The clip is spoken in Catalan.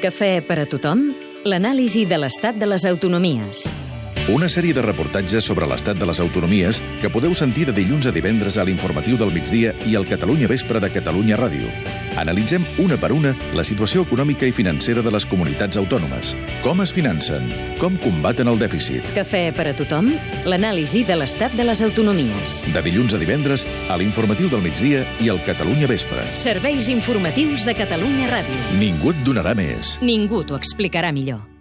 Cafè per a tothom, l'anàlisi de l'estat de les autonomies. Una sèrie de reportatges sobre l'estat de les autonomies que podeu sentir de dilluns a divendres a l'informatiu del migdia i al Catalunya Vespre de Catalunya Ràdio. Analitzem una per una la situació econòmica i financera de les comunitats autònomes, com es financen, com combaten el dèficit. Cafè per a tothom, l'anàlisi de l'estat de les autonomies. De dilluns a divendres a l'informatiu del migdia i al Catalunya Vespre. Serveis informatius de Catalunya Ràdio. Ningú et donarà més. Ningú t'ho explicarà millor.